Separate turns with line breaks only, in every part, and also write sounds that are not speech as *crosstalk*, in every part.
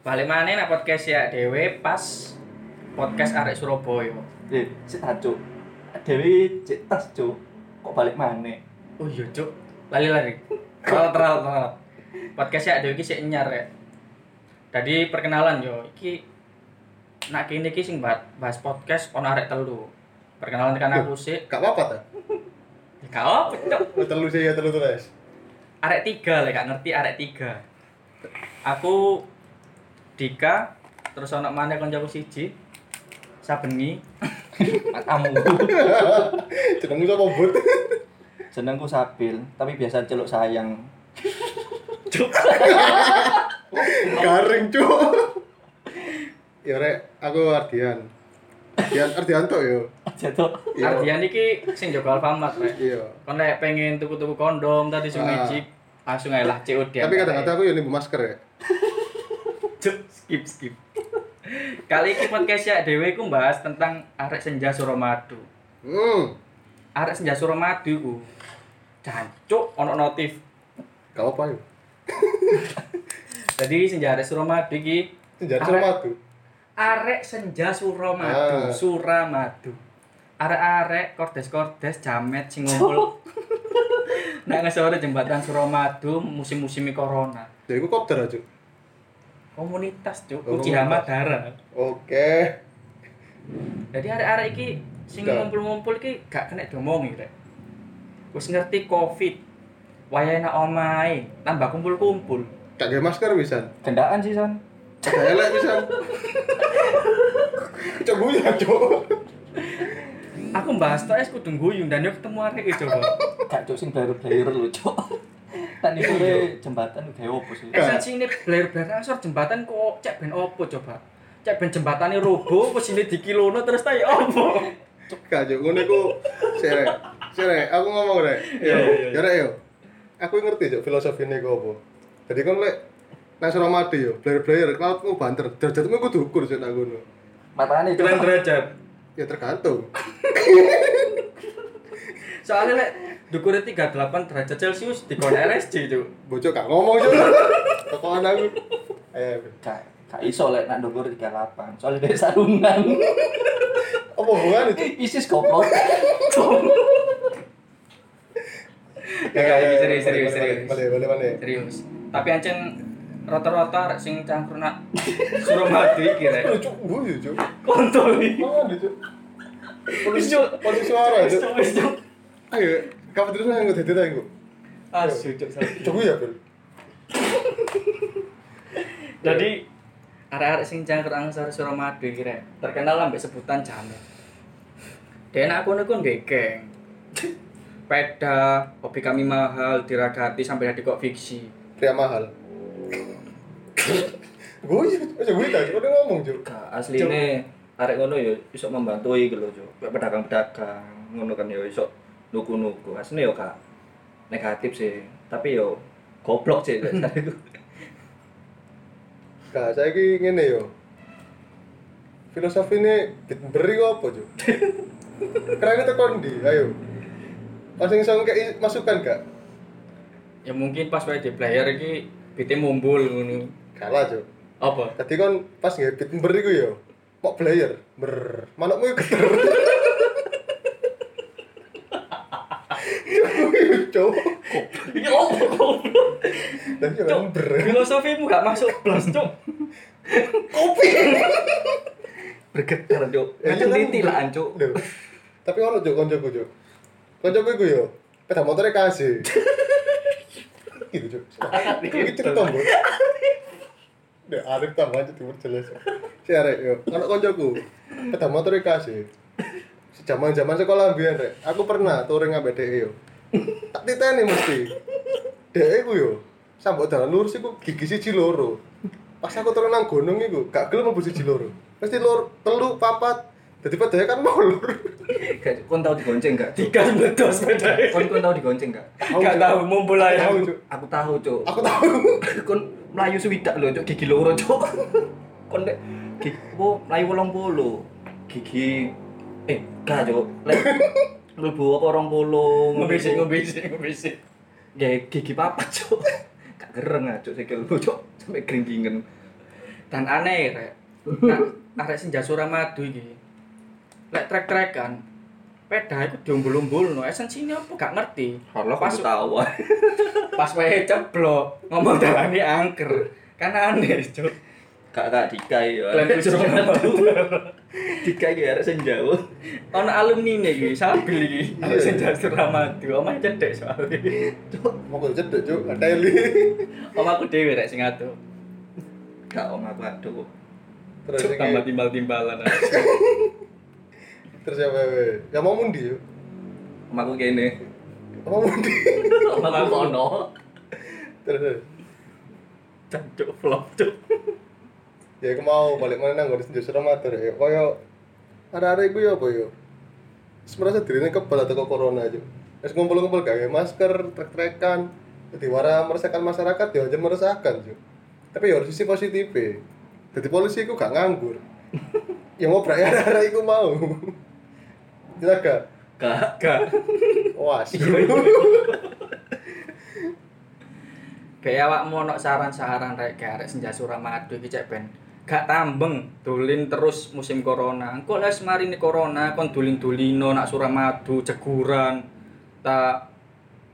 Balik mana nak podcast ya dewe pas podcast arek Surabaya.
Eh, cek tas cuk. Dewi cek tas cuk. Kok balik mana?
Oh iya cuk, lali-lali. Terlalu terlalu terlalu. Podcast ya dewe iki sik nyar ya. Tadi perkenalan yo, iki nak kene iki sing bahas, bahas podcast ono arek telu. Perkenalan kan aku sik.
Gak apa-apa ta?
Ya gak apa cuk.
Oh, Telu sih ya telu terus. *laughs*
arek tiga lah gak ngerti arek tiga aku Dika terus anak mana konjaku siji Sabeni
Matamu.
Jenengmu sapa, Bud?
Jenengku Sabil, tapi biasa celuk sayang.
*laughs*
*laughs*
Garing, Cuk. *laughs* Ya rek, aku Ardian. Ardian Ardianto yo.
Jatuh.
Iya.
Ardian iki sing jaga Alfamart rek
Iya.
kon lek pengen tuku-tuku kondom tadi sing
Ah.
magic langsung ae lah COD
Tapi kadang-kadang aku yo nimbu masker ya.
*laughs* Cuk, skip skip kali ini podcast ya dewe ku bahas tentang arek senja Suramadu
Hmm.
arek senja Suramadu ku jancuk ono notif
Gak apa-apa yo.
jadi senja arek Suramadu iki
Senjata
Arek-
sama tuh.
arek senja suramadu
Ah.
suramadu arek-arek kordes-kordes jamet sing ngumpul nek ngesore jembatan suramadu musim-musim corona
Ya iku kopdar aja.
komunitas cuk
Oh,
uji
komunitas.
hamadara
Oke.
jadi arek-arek iki sing
Gak.
ngumpul-ngumpul iki gak kena diomongi rek wis ngerti covid wayahe nak omahe tambah kumpul-kumpul
Gak gawe masker pisan.
Gendaan sih, Son.
Gak elek pisan. *laughs* Cuk guyon, Cuk.
aku bahas tok es kudu guyung dan yo ketemu arek iki coba
Gak cuk sing blayer-blayer lho, cuk. *laughs* Tadi sore jembatan gawe opo sih?
Gak.
Esensi ini blair-blair asor jembatan kok cek ben opo coba? Cek ben jembatannya robo, terus ini dikilono terus tayo opo?
Gak Cuk, ngono iku sere. Sere, aku ngomong rek. Yo, yo rek yo. Aku ngerti Cuk filosofine iku apa. Jadi kon lek nang Suramadu yo, player-player lautmu banter. Derajatmu kudu ukur Cuk nang ngono.
Matane cuk.
derajat.
Ya tergantung.
Soalnya lek dukurnya 38 derajat Celcius di kona RSC itu.
Bocok gak ngomong Cuk. Tokoan aku. Eh, Ayo.
Gak gak iso lek nak ndukur 38. Soale dhewe sarungan. *laughs*
Apa hubungan itu?
Isis goblok.
Ya, ya, ya, serius, serius, serius.
Boleh, boleh, boleh.
Serius. Tapi ancen rata-rata rek sing cangkruk nak Suramadu iki rek.
Lucu, guyu, Cuk.
Kontol iki.
Mana, Cuk? Polisi,
Cuk.
polisi suara,
Wis,
Cuk.
wis, Cuk.
Ayo, kamu terus nang ngedit aku.
Asu cuk. salah.
Cuk ya, Bil.
Jadi arek-arek sing cangkruk angsor Suramadu iki rek, terkenal lah mbek sebutan jamet. Dan aku niku ndek geng. Peda, hobi kami mahal, diragati sampai jadi kok fiksi.
Pria mahal. Guyu, aja guyu ta, Cuk. Udah ngomong, Cuk.
Gak asline arek ngono ya iso membantu iki lho, Cuk. Kayak pedagang-pedagang ngono kan ya iso nuku-nuku. Asline ya gak negatif sih, tapi yo goblok sih *laughs* lek cari itu.
Gak, Nah, saya ki ngene yo. Filosofi ini beri apa, Cuk? Karena kita kondi, ayo. Masing song kayak masukan gak?
Ya mungkin pas wae di player iki bite mumbul ngono.
Kalah, Cuk.
Apa?
Tadi kan pas ngepit ber iku ya. Mau player, ber. Manukmu iku geter. Cuk.
Ya opo?
Dan yo kan ber.
Filosofimu gak masuk plus, Cuk.
Bergetar, Cuk.
Ya, iya kan.
Ngeliti lah, Cuk.
Loh. Tapi ono Cuk koncoku Cuk. Koncoku iku yo. Peda motornya kasih. gitu Cuk. Iki cerita mbok. Dek arep tambah aja timur jelas. Si arek yo. Ono koncoku. Peda motornya kasih. Sejaman-jaman sekolah mbiyen rek. Aku pernah touring ambek dhek e, yo. Tak titeni mesti. Dhek iku yo. Sambok dalan lurus iku gigi siji loro. Pas aku turun nang gunung iku gak gelem mlebu siji loro. Mesti lur telu papat. Dadi padahal kan mau lur.
Gak- Kon tau digonceng gak? Cuk?
Tiga meledos sepeda.
*laughs* Kon kon tau digonceng gak?
Gak tahu mumbul ae.
Tahu, Cuk.
Aku tahu, Cuk.
Aku tahu.
*laughs* Kon mlayu swidak lho, Cuk, gigi loro, Cuk. *laughs* Kon lek gigi po mlayu 80. Gigi eh gak, Cuk. *laughs* Lek mlebu apa 20.
Ngobisik, ngobisik, ngobisik.
Ya gigi papat cuk. *laughs* Gak gak gereng aja sikil cok sampai gringgingen
dan aneh rek nah, arek senja Suramadu iki lek trek-trekan peda iku diombol-ombolno esensinya apa gak ngerti
kalau
pas
aku tahu
pas wae ceblok ngomong dalane angker kan aneh cuk
*laughs* gak gak dikai ya
Kalian tuh cuma madu.
dikai ya harus yang jauh
ana alumni ne iki sabil iki arek senja Suramadu omah cedek soalnya
Mau kau cedek cuk, ada eli.
omahku dhewe rek sing atuh
gak om aku aduh
Terus
Cuk,
yang
tambah timbal-timbalan
terus yang wewe. Yang mau mundi yuk.
om aku kene
Yang mau mundi.
om aku kono
*laughs* Terus terus.
cuk flop cuk
ya aku mau balik mana nang ngurus justru matur ya. Koyo ada-ada iku ya apa yo. Terus merasa dirinya kebal atau ke corona aja. Terus ngumpul-ngumpul gawe masker, trek-trekan. Jadi wara meresahkan masyarakat ya aja meresahkan cuy. Tapi ya harus sisi positif. Jadi polisi iku gak nganggur. ya mau berani ada-ada iku mau. Jelas gak?
gak
gak
Wah,
Iya,
sih. *laughs*
Kayak awakmu ono saran-saran rek ke arek senja Suramadu iki cek ben gak tambeng dolin terus musim corona. Engko les mari ni corona kon dolin-dolino nak Suramadu jeguran tak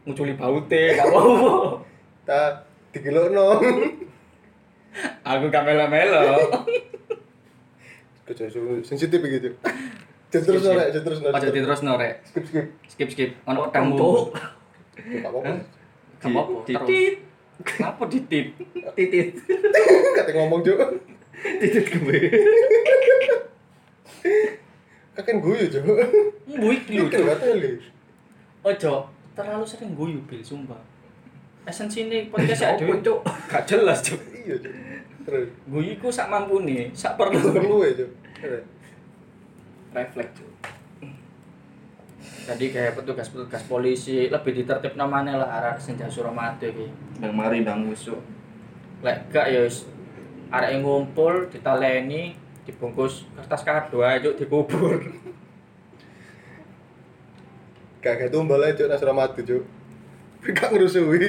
muculi baute gak apa-apa.
Ta digilokno.
*laughs*
*laughs*
Aku gak melo-melo.
Kecil sensitif begitu. Jangan terus norek, jangan terus norek.
Aja diterusno rek.
Skip skip.
Skip skip. Ono
Untuk.
pedangmu.
Enggak apa-apa. *laughs*
Gak apa-apa.
Di-
Terus.
titit.
Kenapa ditit?
titit
Kata ngomong juga.
titit gue
*laughs* Kakek guyu juga.
Mbu iki lho.
Pikir
Cuk.
gak teli.
Ojo terlalu sering guyu bil sumpah. Esensine podcast ya
Apa,
dhewe cuk. Gak jelas cuk.
Iya juga. Terus
Guyu ku sak mampune, sak perlu.
perlu aja. Terus.
refleks Cuk.
Jadi kayak petugas-petugas polisi lebih ditertib namanya lah arah senja Suramadu iki.
yang mari nang musuh
Lek gak ya wis arek yang ngumpul ditaleni dibungkus kertas kado ae cuk dikubur.
Kakek tumbal aja cuk nasra mati cuk. Gak ngerusuhi.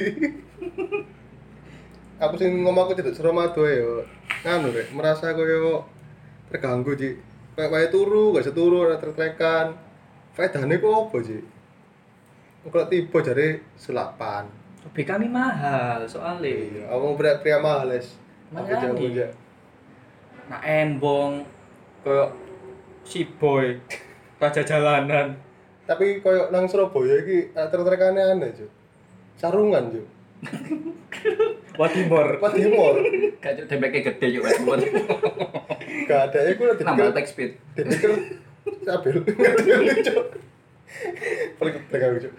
aku sih ngomong aku tidak serem aja ya. Anu rek, merasa koyo terganggu ji. Kayak kayak turu, gak bisa turu, ada tertekan. Faedahnya kok apa ji? Kalau tiba jadi selapan.
Tapi kami mahal soalnya.
Iya, aku mau berat pria mahal les. Aku
Makanya.
jauh aja.
Nah embong koyo si boy raja jalanan.
Tapi koyo nang Surabaya iki tertrekane aneh cuk. Sarungan cuk.
Wadimor.
Apa timur?
gak cuk dempeknya gede yuk mas buat
Gak ada ya gue
nambah
dipikir
attack speed
dipikir sabil. *laughs* Ngerti cuk. Paling ketegang cuk.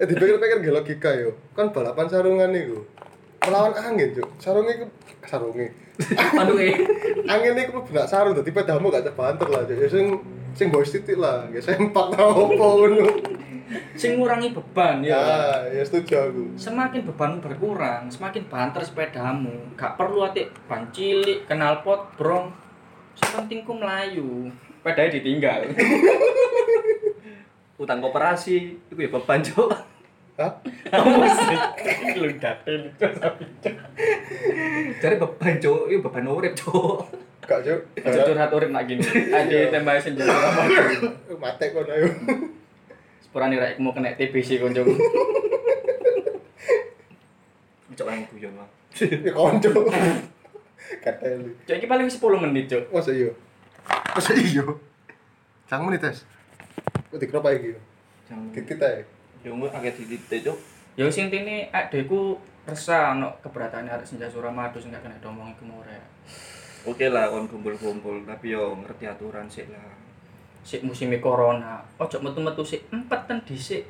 Eh dipikir-pikir gak logika yo. Kan balapan sarungan iku. Melawan angin cuk. Sarunge iku sarunge.
aduh eh
Angin iku mlebu nak sarung dadi pedamu gak terbanter lah cuk. Ya sing sing bos titik lah, ya sempak ta opo ngono.
Sing ngurangi beban ya.
Ya, ya setuju aku.
Semakin beban berkurang, semakin banter sepedamu. Gak perlu ati ban cilik, knalpot, brong. Sepentingku melayu. Pedanya ditinggal.
*laughs* utang koperasi itu ya beban cok
Hah?
Lu datin.
cari beban cok itu beban urip cok
Gak cuk.
Aja curhat urip nak gini. Aja tembaknya senjata apa.
*laughs* Mate kono yo.
Sepurani rakyat mau kena TBC konjong.
cok yang guyon lah
*laughs* Ya konco. Kata lu.
Jadi paling 10 menit, Cuk.
Masa iya? Masa iya? Sang menit tes. Kok dikrop aja gitu?
yang
Titit aja.
yang agak titit cok
Ya wis intine adekku resah ono keberatane arek senja Suramadu sing gak kena domong iku mau rek.
oke lah kon kumpul-kumpul tapi yo ngerti aturan sih lah
sik musime corona ojo metu-metu sik empeten dhisik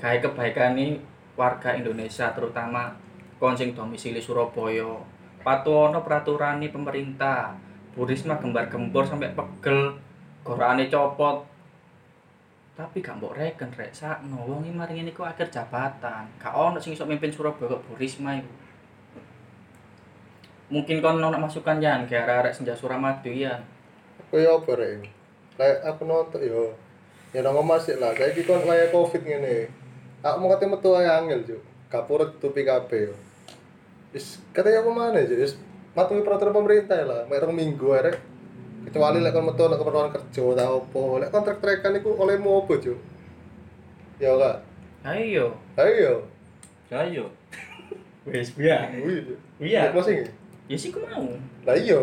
gawe kebaikane warga Indonesia terutama kon sing domisili Surabaya patu ono peraturane pemerintah Bu Risma gembar-gembor sampai pegel gorane copot tapi gak mbok reken rek sakno wong iki mari ngene ku akhir jabatan gak ono sing iso mimpin Surabaya kok Bu Risma iku mungkin kon ono masukan jan ke arek-arek senja Suramadu ya
Kau ya apa rek? Kayak aku nonton yo. Ya nang omah sih lah. Saya kan kayak covid ngene. Aku mau ketemu tuh aja angel juk. Kapur tutupi kabeh yo. Is katanya aku mana aja, is patuhi peraturan pemerintah ya lah, merong minggu arek. Kecuali lek kon metu lek keperluan kerja ta opo, lek kontrak trekan iku olehmu opo, Cuk? Ya iya. ora.
Ayo.
Ayo.
ayo
Wes biar.
Wih.
Iya.
Lek closing. ya?
Ya sih ku mau. *laughs*
Lah iya.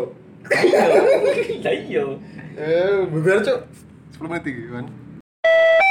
Ayo. Ayo.
Eh, beber, Cuk. 10 menit iki, kan.